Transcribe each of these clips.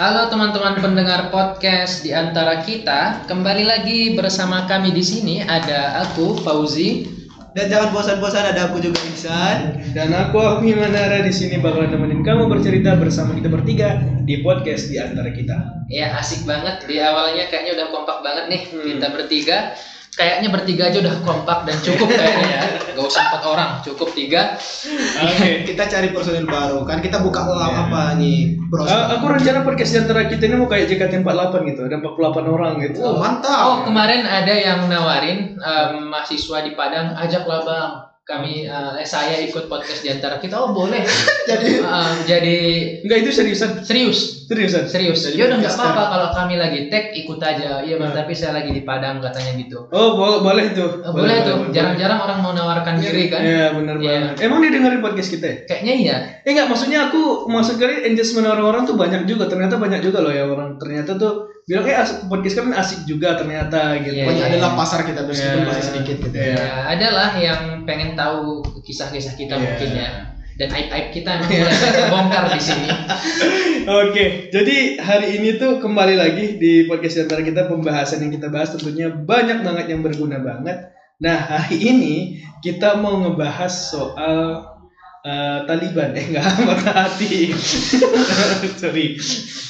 Halo teman-teman pendengar podcast di antara kita, kembali lagi bersama kami di sini ada aku Fauzi. Dan jangan bosan-bosan ada aku juga Iksan. Dan aku Afmi Manara di sini bakal nemenin kamu bercerita bersama kita bertiga di podcast di antara kita. Ya asik banget di awalnya kayaknya udah kompak banget nih Hmm. kita bertiga. Kayaknya bertiga aja udah kompak dan cukup kayaknya ya. Gak usah empat orang, cukup tiga. Oke. Kita cari personil baru kan kita buka ulang Iya. apa nih? Bro. Eh, aku rencana podcast di antara kita ini mau kayak JKT48 gitu, ada 48 orang gitu. Oh, mantap. Oh kemarin ada yang nawarin eh, mahasiswa di Padang, ajaklah bang kami eh, saya ikut podcast di antara kita. Oh boleh. Jadi Eh, jadi Enggak itu seriusan, serius seriusan. Serius, ya Jadi udah nggak podcaster. apa-apa kalau kami lagi tag ikut aja. Iya bang, Nah. tapi saya lagi di Padang katanya gitu. Oh, bo- boleh tuh. Eh, boleh tuh, jarang-jarang orang mau nawarkan diri kan? Iya, benar Iya. banget. Emang dia dengerin podcast kita ya? Kayaknya iya. Eh enggak, maksudnya aku maksud kali engagement orang-orang tuh banyak juga. Ternyata banyak juga loh ya orang. Ternyata tuh bilang eh asik, podcast kan asik juga ternyata gitu. Iya, pokoknya iya, adalah iya. pasar kita meskipun Iya. masih sedikit gitu. Iya. Ya, adalah yang pengen tahu kisah-kisah kita Iya. mungkin ya. Dan aib-aib kita emang mulai terbongkar di sini. Oke, jadi hari ini tuh kembali lagi di podcast di antara kita pembahasan yang kita bahas tentunya banyak banget yang berguna banget. Nah hari ini kita mau ngebahas soal eh, Taliban, eh nggak patah hati, sorry.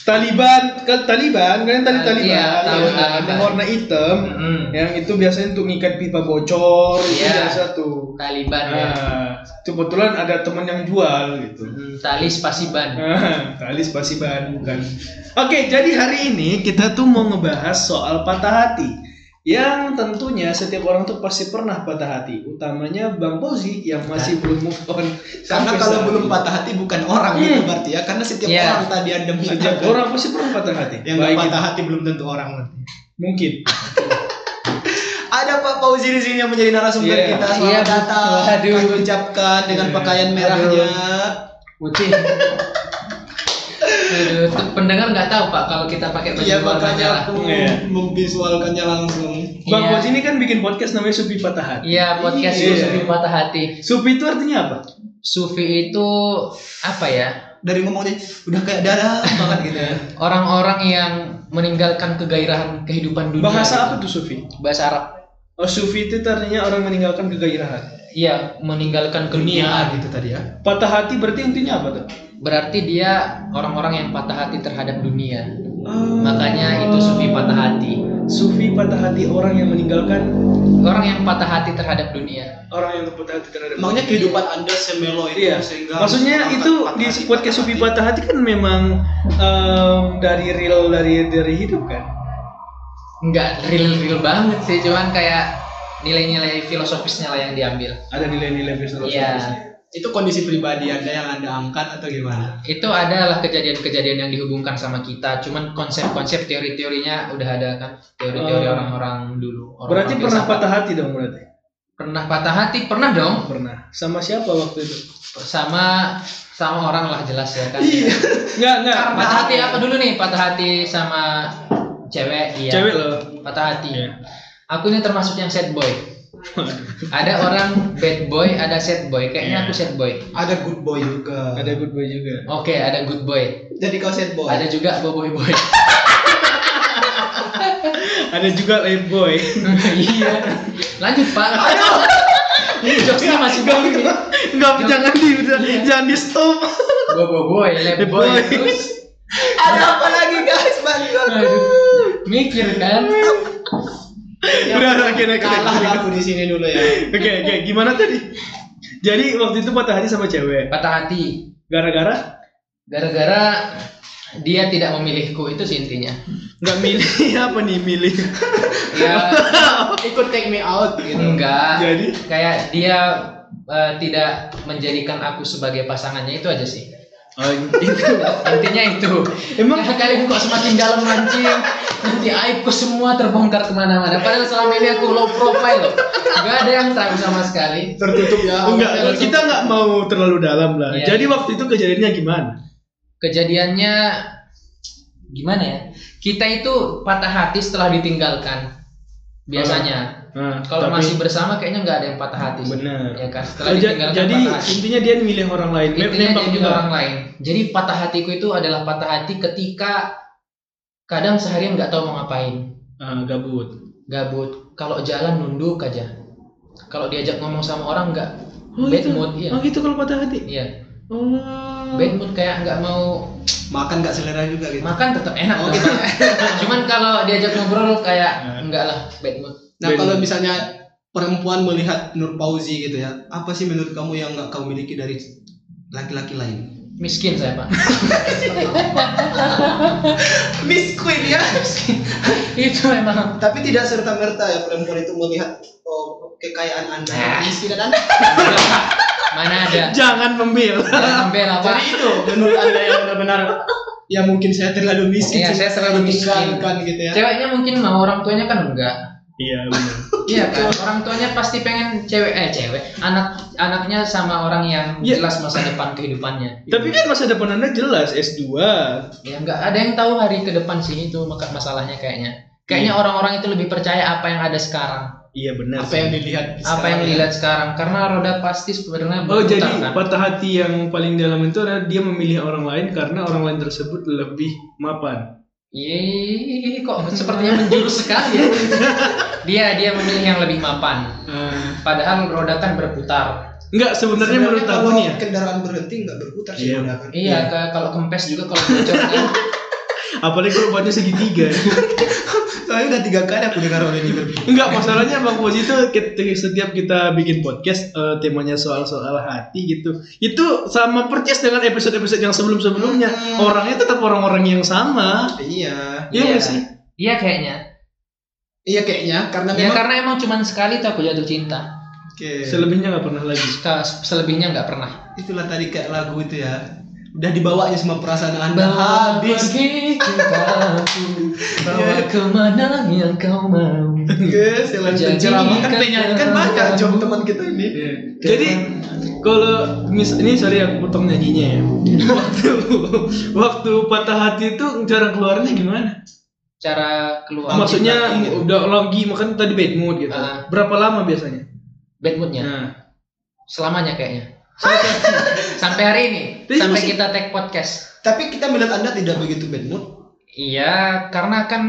Taliban, ke Taliban, kalian tadi Ah, Taliban, iya, tahu ya, Taliban. yang warna hitam, Mm-mm. yang itu biasanya untuk ngikat pipa bocor, itu Iya. biasa tuh. Taliban ya. Nah, kebetulan ada temen yang jual gitu. Mm, Tali spasiban. Ah, tali spasi bahan bukan. Oke, jadi hari ini kita tuh mau ngebahas soal patah hati. Yang tentunya setiap orang tuh pasti pernah patah hati, utamanya Bang Pozi yang masih belum move on. Nah. Karena sampai kalau saat belum ini. patah hati bukan orang Hmm. gitu berarti ya. Karena setiap Iya. orang tadi ada setiap orang pasti pernah patah hati. yang nggak Baik patah Iya. itu- hati belum tentu orang nanti. mungkin. Ada Pak Fauzi di sini yang menjadi narasumber Iya. kita. Selamat Iya, datang. aduh. Kami ucapkan dengan Iya. pakaian merahnya. Iya, Putih. Aduh, tuh pendengar nggak tahu pak kalau kita pakai baju Iya warna makanya merah. aku Iya. memvisualkannya langsung. Bang Iya. Pozi ini kan bikin podcast namanya Supi Patah Hati. Iya podcast Iya. Sufi patah hati. Supi itu artinya apa? Sufi itu apa ya? Dari ngomongnya udah kayak darah banget gitu ya. orang-orang yang meninggalkan kegairahan kehidupan Iya. dunia. Bahasa gitu. apa tuh Sufi? Bahasa Arab. Oh, Sufi itu artinya orang meninggalkan kegairahan. Iya, meninggalkan Dunia dunia. gitu tadi ya. Patah hati berarti intinya apa tuh? Berarti dia orang-orang yang patah hati terhadap dunia. Makanya itu sufi patah hati. Sufi patah hati orang yang meninggalkan Orang yang patah hati terhadap dunia. orang yang patah hati terhadap Emangnya kehidupan anda semelo itu Iya. sehingga Maksudnya harus itu mengangkat gitu di ya. patah podcast hati. Sufi Patah Hati kan memang em, dari real dari dari hidup kan. Nggak real-real banget sih, cuman kayak nilai-nilai filosofisnya lah yang diambil. Ada nilai-nilai filosofis. Iya. itu kondisi pribadi anda yang anda angkat atau gimana? Itu adalah kejadian-kejadian yang dihubungkan sama kita, cuman konsep-konsep teori-teorinya udah ada kan, teori-teori Oh. orang-orang dulu. orang-orang Berarti pernah filsafat. patah hati dong berarti. pernah patah hati, pernah dong. Pernah. Sama siapa waktu itu? sama sama orang lah jelas ya kan. Iya. Enggak, enggak. Patah hati apa dulu nih? Patah hati sama cewek iya. Cewek loh. Patah hati. Iya. Aku ini termasuk yang sad boy. Ada orang bad boy, ada sad boy. Kayaknya Iya. aku sad boy. Ada good boy juga. Ada good boy juga. Oke, ada good boy. Jadi kau set boy. Ada juga boboy boy. Ada juga lame boy. iya. Lanjut, Pak. Ini jokesnya masih baru nih. Enggak, jangan di jangan di stop. Boboy boy, lab Bad boy. boy. Terus, Ada apa lagi guys? Bantu aku. aduh, mikir kan. Udah, udah, oke, oke, Kalah oke. lah aku di sini dulu ya. Oke, oke, gimana tadi? Jadi waktu itu patah hati sama cewek. Patah hati Gara-gara gara-gara dia tidak memilihku itu sih intinya. nggak milih apa nih milih. Ya, Ikut take me out gitu. enggak Jadi? kayak dia eh, tidak menjadikan aku sebagai pasangannya itu aja sih Oh, itu. intinya itu Emang- Nah, kalian kok semakin dalam mancing nanti aibku semua terbongkar kemana-mana padahal selama ini aku low profile loh nggak ada yang tahu sama sekali Tertutup ya. Enggak, awalnya langsung. kita Oh, nggak mau terlalu dalam lah. Iya. Jadi waktu itu kejadiannya gimana? kejadiannya gimana ya kita itu patah hati setelah ditinggalkan biasanya Nah, Kalau tapi- masih bersama kayaknya nggak ada yang patah hati. sih. Benar. Ya kan. Setelah Oh, ja- ditinggalkan jadi patah hati. intinya dia milih orang lain. Mem- Intinya nembak jadi juga. orang lain. Jadi patah hatiku itu adalah patah hati ketika kadang seharian nggak tahu mau ngapain, Ah, gabut. gabut. Kalau jalan nunduk aja. Kalau diajak ngomong sama orang nggak bad mood iya. Oh gitu kalau patah hati. Iya. Oh. Bad mood kayak nggak mau Makan nggak selera juga gitu. makan tetap enak. Oh. tetap. Cuman kalau diajak ngobrol gitu. Nah. kayak enggak lah bad mood. Nah Beda. kalau misalnya perempuan melihat Nur Fauzi gitu ya, apa sih menurut kamu yang nggak kamu miliki dari laki-laki lain? Miskin saya pak. Miss Queen ya. itu memang. Tapi tidak serta merta ya perempuan itu melihat oh, kekayaan anda, Ah. kemiskinan anda. Mana ada? Jangan membela. Jangan membela pak. Jadi itu menurut anda yang benar-benar ya mungkin saya terlalu miskin, Iya, cuma saya terlalu miskin. meninggalkan gitu ya. Ceweknya mungkin mau orang tuanya kan enggak. Iya benar. Iya kan, orang tuanya pasti pengen cewek eh cewek, anak anaknya sama orang yang Iya. jelas masa depan kehidupannya. Tapi kan masa depan Anda jelas S2. Ya enggak ada yang tahu hari ke depan sih itu maka masalahnya kayaknya. Kayaknya orang-orang itu lebih percaya apa yang ada sekarang, Iya benar. Apa yang dilihat? apa yang sekarang ya. dilihat sekarang karena roda pasti sebenarnya Oh berputar, jadi kan? patah hati yang paling dalam itu adalah dia memilih orang lain karena orang lain tersebut lebih mapan. Yeay, kok sepertinya menjurus sekali ya. dia dia memilih yang lebih mapan. Eh, Padahal roda kan berputar. enggak sebenarnya menurut aku kalau nih ya. kendaraan berhenti nggak berputar sih Iya. roda kan. Iya, ke- kalau kempes juga kalau bocor kan. Apalagi kalau buatnya segitiga. Soalnya udah tiga kali aku dengar orang ini berpikir. Iya. Enggak masalahnya Bang Bozi itu ketika- setiap kita bikin podcast eh, temanya soal-soal hati gitu. Itu sama persis dengan episode-episode yang sebelum-sebelumnya. Hmm. Orangnya tetap orang-orang yang sama. Iya. Iya nggak sih? Iya kayaknya. Iya kayaknya karena Ya memang karena emang cuman sekali tuh aku jatuh cinta. Oke. Selebihnya nggak pernah lagi. Ka- selebihnya nggak pernah. Itulah tadi kayak lagu itu ya. Udah dibawanya semua perasaan Anda Nah. habis. pergi cintaku, bawa kemana yang kau mau. Oke, selain Jadi penceramah Iya. kan kata- Iya. penyanyikan banyak job teman kita ini. Jadi kalau mis ini sorry aku potong nyanyinya ya. waktu waktu patah hati itu jarang keluarnya gimana? Cara keluar Maksudnya gitu. udah lagi makan tadi bad mood gitu. Ah. Ya. Berapa lama biasanya? bad moodnya Iya. Nah, selamanya kayaknya. sampai hari ini, Jadi Iya, sampai masih- kita take podcast. Tapi kita melihat Anda tidak begitu bad mood, Iya, karena kan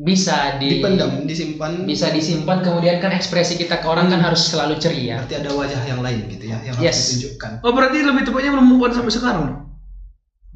bisa di dipendam, disimpan. bisa disimpan kemudian kan ekspresi kita ke orang kan Iya. harus selalu ceria. Berarti ada wajah yang lain gitu ya yang Yes. harus ditunjukkan. oh berarti lebih tepatnya belum move on sampai sekarang. dong?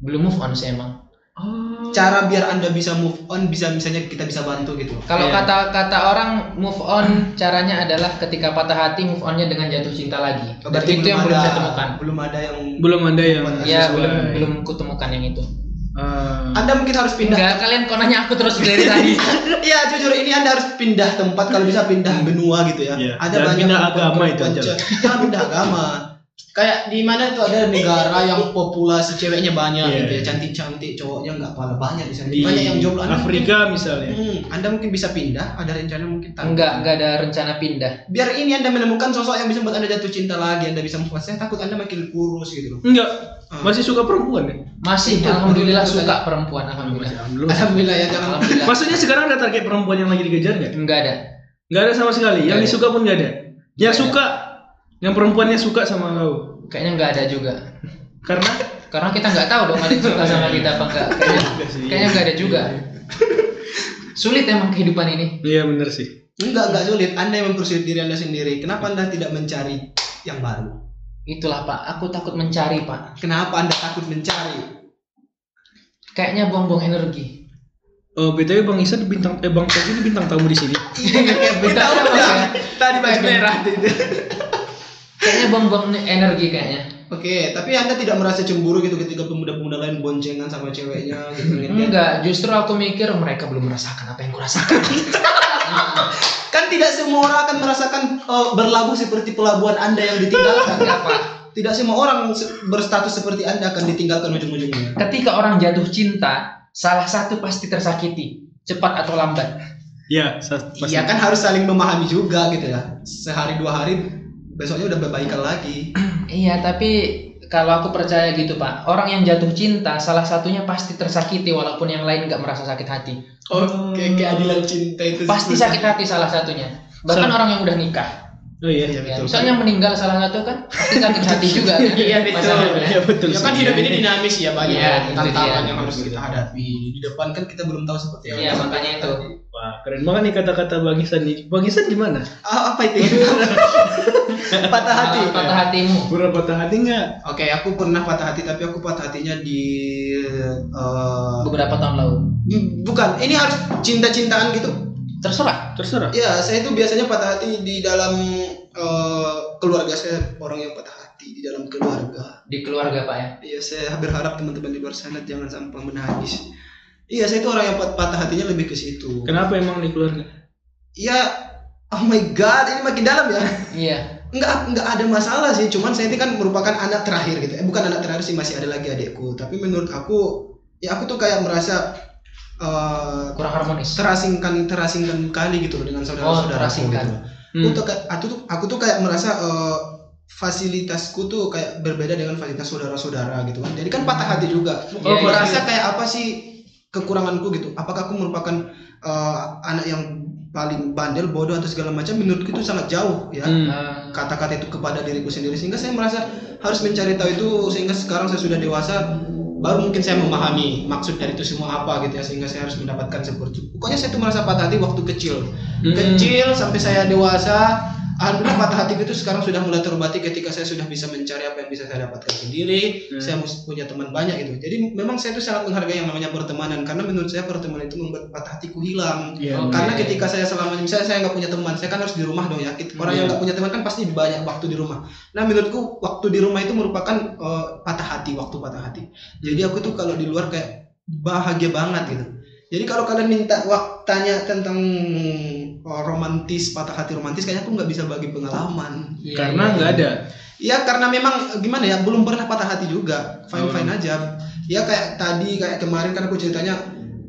Belum move on sih emang. Oh. Cara biar Anda bisa move on bisa misalnya kita bisa bantu gitu. loh. Kalau Iya. kata-kata orang move on caranya adalah ketika patah hati move onnya dengan jatuh cinta lagi. Berarti itu yang belum saya temukan. Belum ada yang belum ada yang Ya sesuai. belum belum kutemukan yang itu. Ah. Anda mungkin harus pindah Enggak kalian konanya aku terus dari tadi. Iya jujur ini anda harus pindah tempat kalau bisa pindah benua gitu ya. Hmm. Iya, Ada jangan banyak pindah perempuan- agama itu perempuan aja lah. cewek. Jangan pindah agama. Kayak di mana itu ada negara yang populasi ceweknya banyak Iya. gitu ya, cantik-cantik cowoknya nggak pala banyak di sana. di banyak yang jomblo. Anda mungkin- Afrika misalnya. Hmm, anda mungkin bisa pindah, ada rencana mungkin tak. enggak enggak ada rencana pindah. Biar ini Anda menemukan sosok yang bisa membuat Anda jatuh cinta lagi, Anda bisa move on. Saya takut Anda makin kurus gitu loh. Enggak, Ah. masih suka perempuan ya? Masih Itu, alhamdulillah itu suka perempuan Masih alhamdulillah. alhamdulillah. Alhamdulillah ya jangan. Alhamdulillah. Maksudnya sekarang ada target perempuan yang lagi dikejar nggak? enggak ada. Nggak ada sama sekali. Nggak Yang ada. disuka pun nggak ada. Nggak Yang ada. suka, yang perempuannya suka sama kau. Kayaknya enggak ada juga. Karena Karena kita nggak tahu dong ada yang suka sama kita apa enggak. Kayaknya Iya kayaknya enggak ada juga. Sulit emang kehidupan ini. Iya bener sih. Enggak, enggak sulit. Anda yang mempersulit diri Anda sendiri. Kenapa Anda tidak mencari yang baru? Itulah Pak, aku takut mencari Pak. Kenapa Anda takut mencari? kayaknya buang-buang energi. Oh, BTW Bang Isa di bintang eh Bang Togi ini bintang tamu di sini. Kita Bentar, udah Mas, ya. tadi baju merah. Kayaknya buang-buang energi kayaknya. Oke, tapi Anda tidak merasa cemburu gitu ketika pemuda-pemuda lain boncengan sama ceweknya gitu ngeliat dia? Enggak, justru aku mikir mereka belum merasakan apa yang kurasakan. Kan tidak semua orang akan merasakan eh, berlabuh seperti pelabuhan Anda yang ditinggalkan. Enggak, Pak. Tidak semua orang se- berstatus seperti Anda akan ditinggalkan ujung-ujungnya. Ketika orang jatuh cinta, salah satu pasti tersakiti, cepat atau lambat. Iya, sa- pasti. Iya kan harus saling memahami juga gitu ya. Sehari dua hari besoknya udah berbaikan lagi. Iya, tapi kalau aku percaya gitu, Pak. Orang yang jatuh cinta, salah satunya pasti tersakiti walaupun yang lain nggak merasa sakit hati. Oke, Oh, keadilan cinta itu Pasti sebenarnya. sakit hati salah satunya. bahkan Salah. orang yang udah nikah Oh iya. Iya, ya, betul. misalnya meninggal salah satu kan pasti sakit hati juga kan Iya, betul. Pasangannya. Iya betul. Ya kan sekali. hidup ini dinamis ya banyak Iya, itu tantangan dia. yang harus kita hadapi. Di depan kan kita belum tahu seperti Iya, makanya itu. Wah, keren banget nih kata-kata Bang Isan nih. Bang Isan gimana? Ah, apa itu? patah hati. Ah, patah hatimu Pernah patah hati nggak? Oke, aku pernah patah hati tapi aku patah hatinya di eh, beberapa tahun lalu bukan. Ini harus cinta-cintaan gitu. terserah Terserah. Ya, saya itu biasanya patah hati di dalam eh, keluarga saya orang yang patah hati di dalam keluarga. di keluarga pak ya Iya, saya berharap teman-teman di luar sana jangan sampai menangis. Iya, saya itu orang yang pat- patah hatinya lebih ke situ. Kenapa emang nih keluarga? Iya, oh my god, ini makin dalam ya. iya Enggak, enggak ada masalah sih. Cuman saya ini kan merupakan anak terakhir gitu. Eh, bukan anak terakhir sih, masih ada lagi adekku. Tapi menurut aku, ya aku tuh kayak merasa eh, kurang harmonis terasingkan terasingkan kali gitu loh dengan saudara saudara terasingkan. gitu. Hmm. Aku tuh kayak- aku tuh aku tuh kayak merasa eh, fasilitasku tuh kayak berbeda dengan fasilitas saudara-saudara gitu kan. Jadi kan patah hati juga. Oh, Iya, Ya, iya, merasa kayak apa sih kekuranganku gitu? Apakah aku merupakan eh, anak yang paling bandel, bodoh atau segala macam? Menurutku itu sangat jauh ya Hmm. Ah, kata-kata itu kepada diriku sendiri sehingga saya merasa harus mencari tahu itu sehingga sekarang saya sudah dewasa baru mungkin saya memahami maksud dari itu semua apa gitu ya sehingga saya harus mendapatkan seperti itu. Pokoknya saya itu merasa patah hati waktu kecil. Hmm. Kecil sampai saya dewasa Alhamdulillah patah hati itu sekarang sudah mulai terobati ketika saya sudah bisa mencari apa yang bisa saya dapatkan sendiri. Hmm. Saya mus- punya teman banyak gitu. Jadi memang saya itu sangat menghargai yang namanya pertemanan karena menurut saya pertemanan itu membuat patah hatiku hilang. Iya. Oke. Karena ketika saya selama ini, misalnya saya nggak punya teman, saya kan harus di rumah dong ya. Kita- Orang yang Iya. nggak punya teman kan pasti banyak waktu di rumah. Nah menurutku waktu di rumah itu merupakan eh, patah hati, waktu patah hati. Jadi aku tuh kalau di luar kayak bahagia banget gitu. Jadi kalau kalian minta waktu tanya tentang eh, romantis, patah hati romantis, kayaknya aku nggak bisa bagi pengalaman. iya, Karena iya. nggak ada. Ya karena memang eh, gimana ya, belum pernah patah hati juga. Fine fine aja. Ya kayak tadi kayak kemarin kan aku ceritanya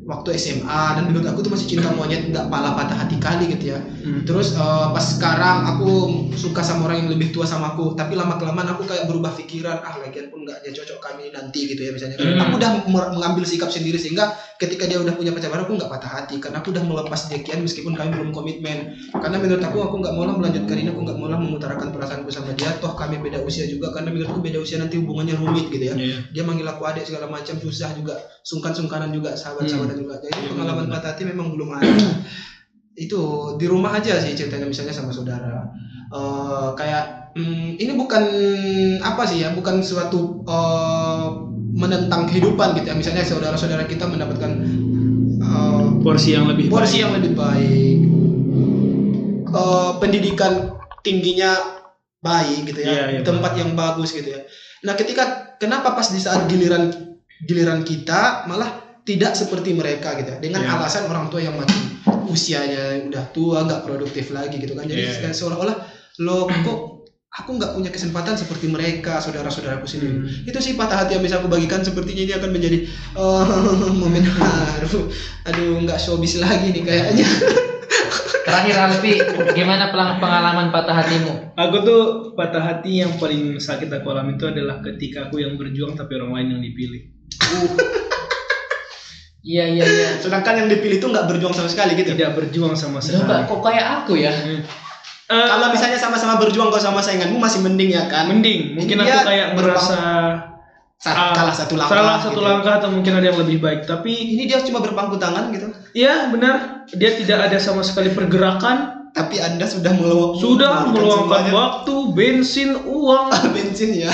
waktu SMA dan menurut aku tuh masih cinta monyet nggak pala patah hati kali gitu ya. Hmm. Terus eh, pas sekarang aku suka sama orang yang lebih tua sama aku, tapi lama kelamaan aku kayak berubah pikiran, ah lagian pun nggak ya cocok kami nanti gitu ya misalnya. Hmm. Aku udah mer- mengambil sikap sendiri sehingga ketika dia udah punya pacar baru aku nggak patah hati karena aku udah melepas dekian meskipun kami belum komitmen. Karena menurut aku aku nggak mau lah melanjutkan ini, aku nggak mau lah mengutarakan perasaanku sama dia. Toh kami beda usia juga karena menurutku beda usia nanti hubungannya rumit gitu ya Iya. dia manggil aku adik segala macam susah juga sungkan-sungkanan juga sahabat-sahabatan juga jadi Iya, pengalaman benar. patah hati memang belum ada itu di rumah aja sih ceritanya misalnya sama saudara Eh, kayak mm, ini bukan apa sih ya bukan suatu eh, menentang kehidupan gitu ya misalnya saudara-saudara kita mendapatkan eh, Porsi yang lebih porsi baik. yang lebih baik Eh, pendidikan tingginya baik gitu ya Iya, iya, tempat yang bagus gitu ya nah ketika kenapa pas di saat giliran giliran kita malah tidak seperti mereka gitu ya dengan Iya. alasan orang tua yang mati usianya udah tua nggak produktif lagi gitu kan jadi Iya, iya. kayak seolah-olah lo kok aku nggak punya kesempatan seperti mereka saudara-saudaraku sendiri Hmm. itu sih patah hati yang bisa aku bagikan sepertinya ini akan menjadi eh, momen haru aduh nggak showbiz lagi nih kayaknya terakhir Alfi gimana pelang- pengalaman patah hatimu Aku tuh patah hati yang paling sakit aku alami itu adalah ketika aku yang berjuang tapi orang lain yang dipilih. iya iya iya sedangkan yang dipilih itu nggak berjuang sama sekali gitu Tidak berjuang sama Coba sekali. kok kayak aku ya Eh, Hmm. kalau misalnya sama-sama berjuang kau sama sainganmu masih mending ya kan mending, mungkin aku Dia kayak berjuang- merasa Sa- ah, kalah satu langkah Salah satu gitu. langkah atau mungkin ada yang lebih baik, tapi ini dia cuma berpangku tangan gitu ya benar, dia tidak ada sama sekali pergerakan. tapi anda sudah meluang Sudah meluangkan waktu, bensin, uang, bensin ya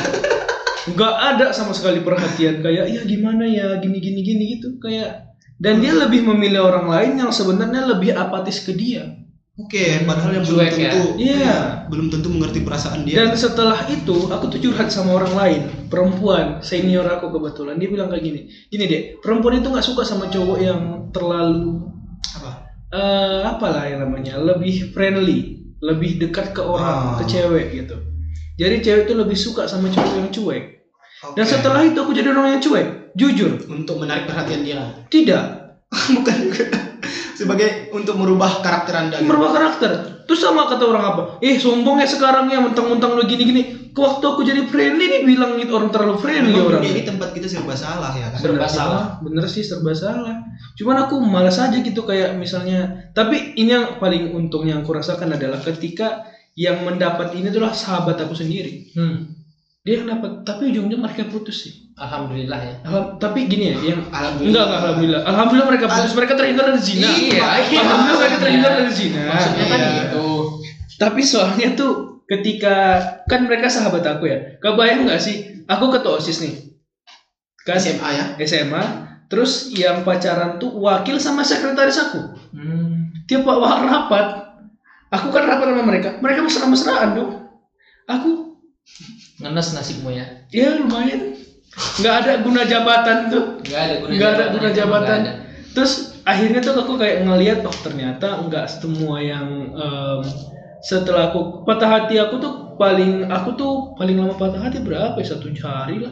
nggak ada sama sekali perhatian kayak ya gimana ya gini gini gini gitu kayak dan dia lebih memilih orang lain yang sebenarnya lebih apatis ke dia oke padahal yang belum Cuek ya. tentu Iya. belum tentu mengerti perasaan dia dan setelah itu aku tuh curhat sama orang lain perempuan senior aku kebetulan dia bilang kayak gini gini deh perempuan itu nggak suka sama cowok yang terlalu apa eh apalah yang namanya lebih friendly lebih dekat ke Ah. orang ke cewek gitu jadi cewek itu lebih suka sama cowok yang cuek dan Oke. setelah itu aku jadi orang yang cuek jujur untuk menarik perhatian dia tidak bukan juga sebagai untuk merubah karakter anda gitu. merubah karakter Terus sama kata orang apa? Eh sombong ya sekarang ya mentang-mentang lu gini-gini. Ke waktu aku jadi friendly nih bilang itu orang terlalu friendly Memang orang. dunia ini tempat kita serba salah ya kan? Serba Bener salah. sih, bener sih serba salah. Cuman aku malas aja gitu kayak misalnya. Tapi ini yang paling untungnya yang aku rasakan adalah ketika yang mendapat ini adalah sahabat aku sendiri. Hmm. Dia yang dapat, tapi ujung-ujungnya mereka putus sih. Alhamdulillah ya. Alham- tapi gini ya, yang Alhamdulillah. enggak enggak alhamdulillah. Alhamdulillah mereka putus, mereka terhindar dari zina. Iya, iya. Alhamdulillah mereka terhindar dari zina. Maksudnya kan Iya. gitu. Tapi soalnya tuh ketika kan mereka sahabat aku ya. Kebayang nggak sih? Aku ketua OSIS nih. Kan SMA. SMA ya. terus yang pacaran tuh wakil sama sekretaris aku. Hmm. Tiap wa- rapat, aku kan rapat sama mereka. Mereka mesra-mesraan dong. Aku Ngenes nasibmu ya. ya lumayan. Nggak ada guna jabatan tuh. Nggak ada guna nggak ada jabatan. guna Nggak jabatan ada. terus akhirnya tuh aku kayak ngelihat oh ternyata nggak semua yang em, setelah aku patah hati aku tuh paling aku tuh paling lama patah hati berapa ya satu hari lah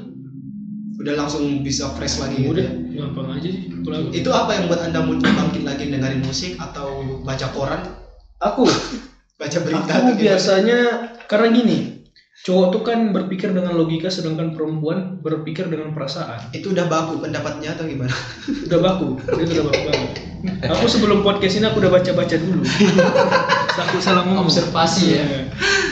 Udah langsung bisa fresh Iya. lagi gitu. udah ya. gampang aja sih kalau aku. Itu apa yang buat Anda muncul bangkit lagi dengerin musik atau baca koran, aku baca berita gitu ya? aku atau gimana? biasanya karena gini cowok tuh kan berpikir dengan logika sedangkan perempuan berpikir dengan perasaan Itu udah baku pendapatnya atau gimana? udah baku itu udah baku banget aku sebelum podcast ini aku udah baca baca dulu takut salah ngomong Observasi ya. Iya.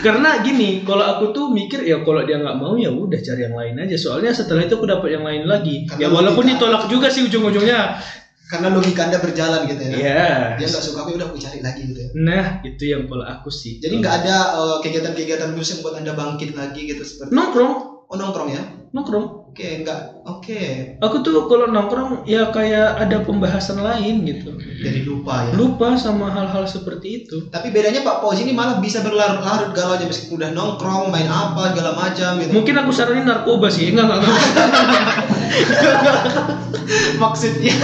karena gini kalau aku tuh mikir ya kalau dia nggak mau ya udah cari yang lain aja soalnya setelah itu aku dapat yang lain lagi Karena ya walaupun logika. ditolak juga sih ujung ujungnya Karena logika Anda berjalan gitu ya. ya Dia nggak suka aku udah aku cari lagi gitu ya. nah itu yang kalau aku sih Jadi nggak ada eh, kegiatan-kegiatan musik buat Anda bangkit lagi gitu seperti nongkrong oh nongkrong ya. nongkrong Oke, enggak. Oke. aku tuh kalau nongkrong ya kayak ada pembahasan lain gitu Jadi lupa ya. lupa sama hal-hal seperti itu Tapi bedanya Pak Fauzi ini malah bisa berlarut-larut galau aja meskipun udah nongkrong, main apa segala macam gitu. mungkin aku saranin narkoba sih enggak enggak, enggak. Maksudnya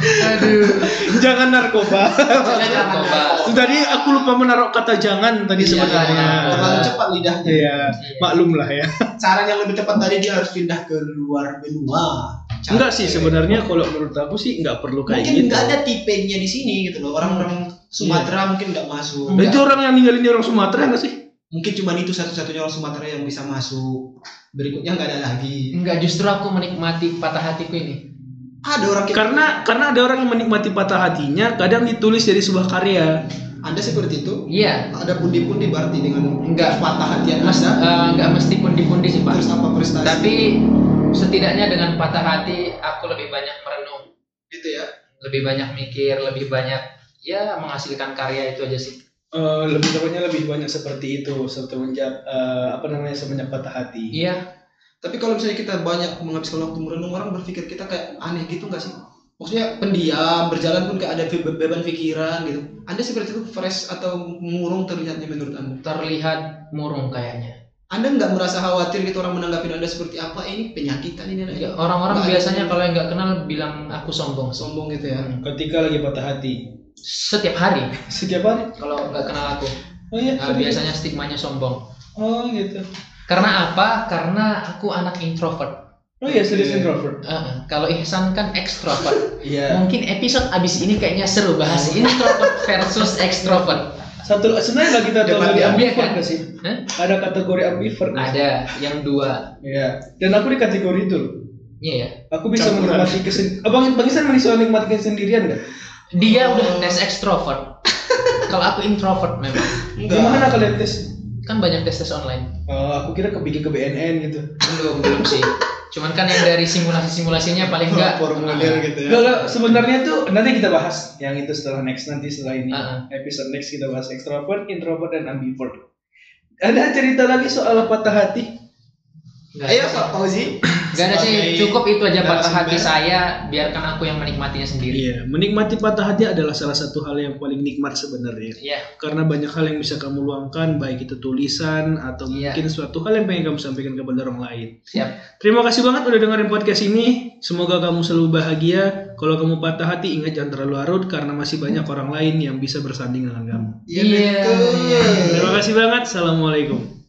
Aduh. jangan narkoba Iya, Jangan narkoba. tadi aku lupa menaruh kata jangan tadi Iya, sebenarnya terlalu cepat lidahnya. Iya, maklumlah ya Cara yang lebih tepat tadi dia harus pindah ke luar benua. Cara- enggak sih sebenarnya kalau menurut aku sih enggak perlu kayak Mungkin gitu nggak ada tipenya di sini gitu loh. Orang-orang Sumatera Iya. mungkin nggak masuk. Nah, itu Nggak. orang yang ninggalin orang Sumatera enggak sih Mungkin cuma itu satu-satunya orang Sumatera yang bisa masuk. Berikutnya nggak ada lagi. Enggak justru aku menikmati patah hatiku ini. Ada orang kayak karena karena ada orang yang menikmati patah hatinya kadang ditulis jadi sebuah karya Anda gitu. seperti itu. Iya. Ada pundi-pundi berarti dengan Nggak. patah hatian Mas Anda. eh, nggak mesti pundi-pundi sih pak. Terus apa prestasi? Tapi setidaknya dengan patah hati aku lebih banyak merenung, gitu ya. lebih banyak mikir, lebih banyak ya menghasilkan karya itu aja sih. Eh, lebih tepatnya lebih banyak seperti itu semenjak eh, apa namanya semenjak patah hati Iya. Tapi kalau misalnya kita banyak menghabiskan waktu merenung, orang berpikir kita kayak aneh gitu nggak sih? Maksudnya pendiam, berjalan pun kayak ada be- beban pikiran gitu. Anda seperti itu fresh atau murung terlihatnya menurut Anda? Terlihat murung kayaknya. Anda nggak merasa khawatir gitu orang menanggapi Anda seperti apa? Eh, Ini penyakitan ini anak Iya, ini." Orang-orang Nggak ada biasanya yang kalau yang nggak kenal bilang aku sombong. sombong gitu ya. ketika lagi patah hati Setiap hari setiap hari kalau nggak kenal aku oh iya Nah, biasanya stigmanya sombong. oh gitu Karena apa? Karena aku anak introvert. oh iya serius Iya. introvert Ah, kalau Ihsan kan ekstrovert. iya Mungkin episode abis ini kayaknya seru bahas introvert versus ekstrovert. satu sebenarnya nggak kita Depan kategori dia. ambivert nggak sih Hah? ada kategori ambivert nggak sih? Ada yang dua. Iya. dan aku di kategori itu loh. Iya ya. aku bisa Campuran. menikmati kesen abang bang Isan bisa menikmati kesendirian nggak Dia Oh. udah tes ekstrovert. Kalau aku introvert memang. gimana kalian tes Kan banyak tes tes online. Oh, aku kira kepikir ke BNN gitu Belum belum sih. Cuman kan yang dari simulasi simulasinya paling enggak. formulir gitu ya. Enggak, enggak. sebenarnya tuh nanti kita bahas yang itu setelah next nanti setelah ini Ah, episode next kita bahas extrovert, introvert dan ambivert. Ada cerita lagi soal patah hati? Enggak Ayo ada. Pak Fauzi. Enggak ada sih. Iya. Sebagai Cukup itu aja patah hati narasumber. saya. Biarkan aku yang menikmatinya sendiri. Iya, menikmati patah hati adalah salah satu hal yang paling nikmat sebenarnya. Iya. karena banyak hal yang bisa kamu luangkan baik itu tulisan atau Iya. mungkin suatu hal yang pengen kamu sampaikan kepada orang lain Siap. terima kasih banget udah dengerin podcast ini semoga kamu selalu bahagia kalau kamu patah hati ingat jangan terlalu larut karena masih banyak orang lain yang bisa bersanding dengan kamu Iya. betul. terima kasih banget assalamualaikum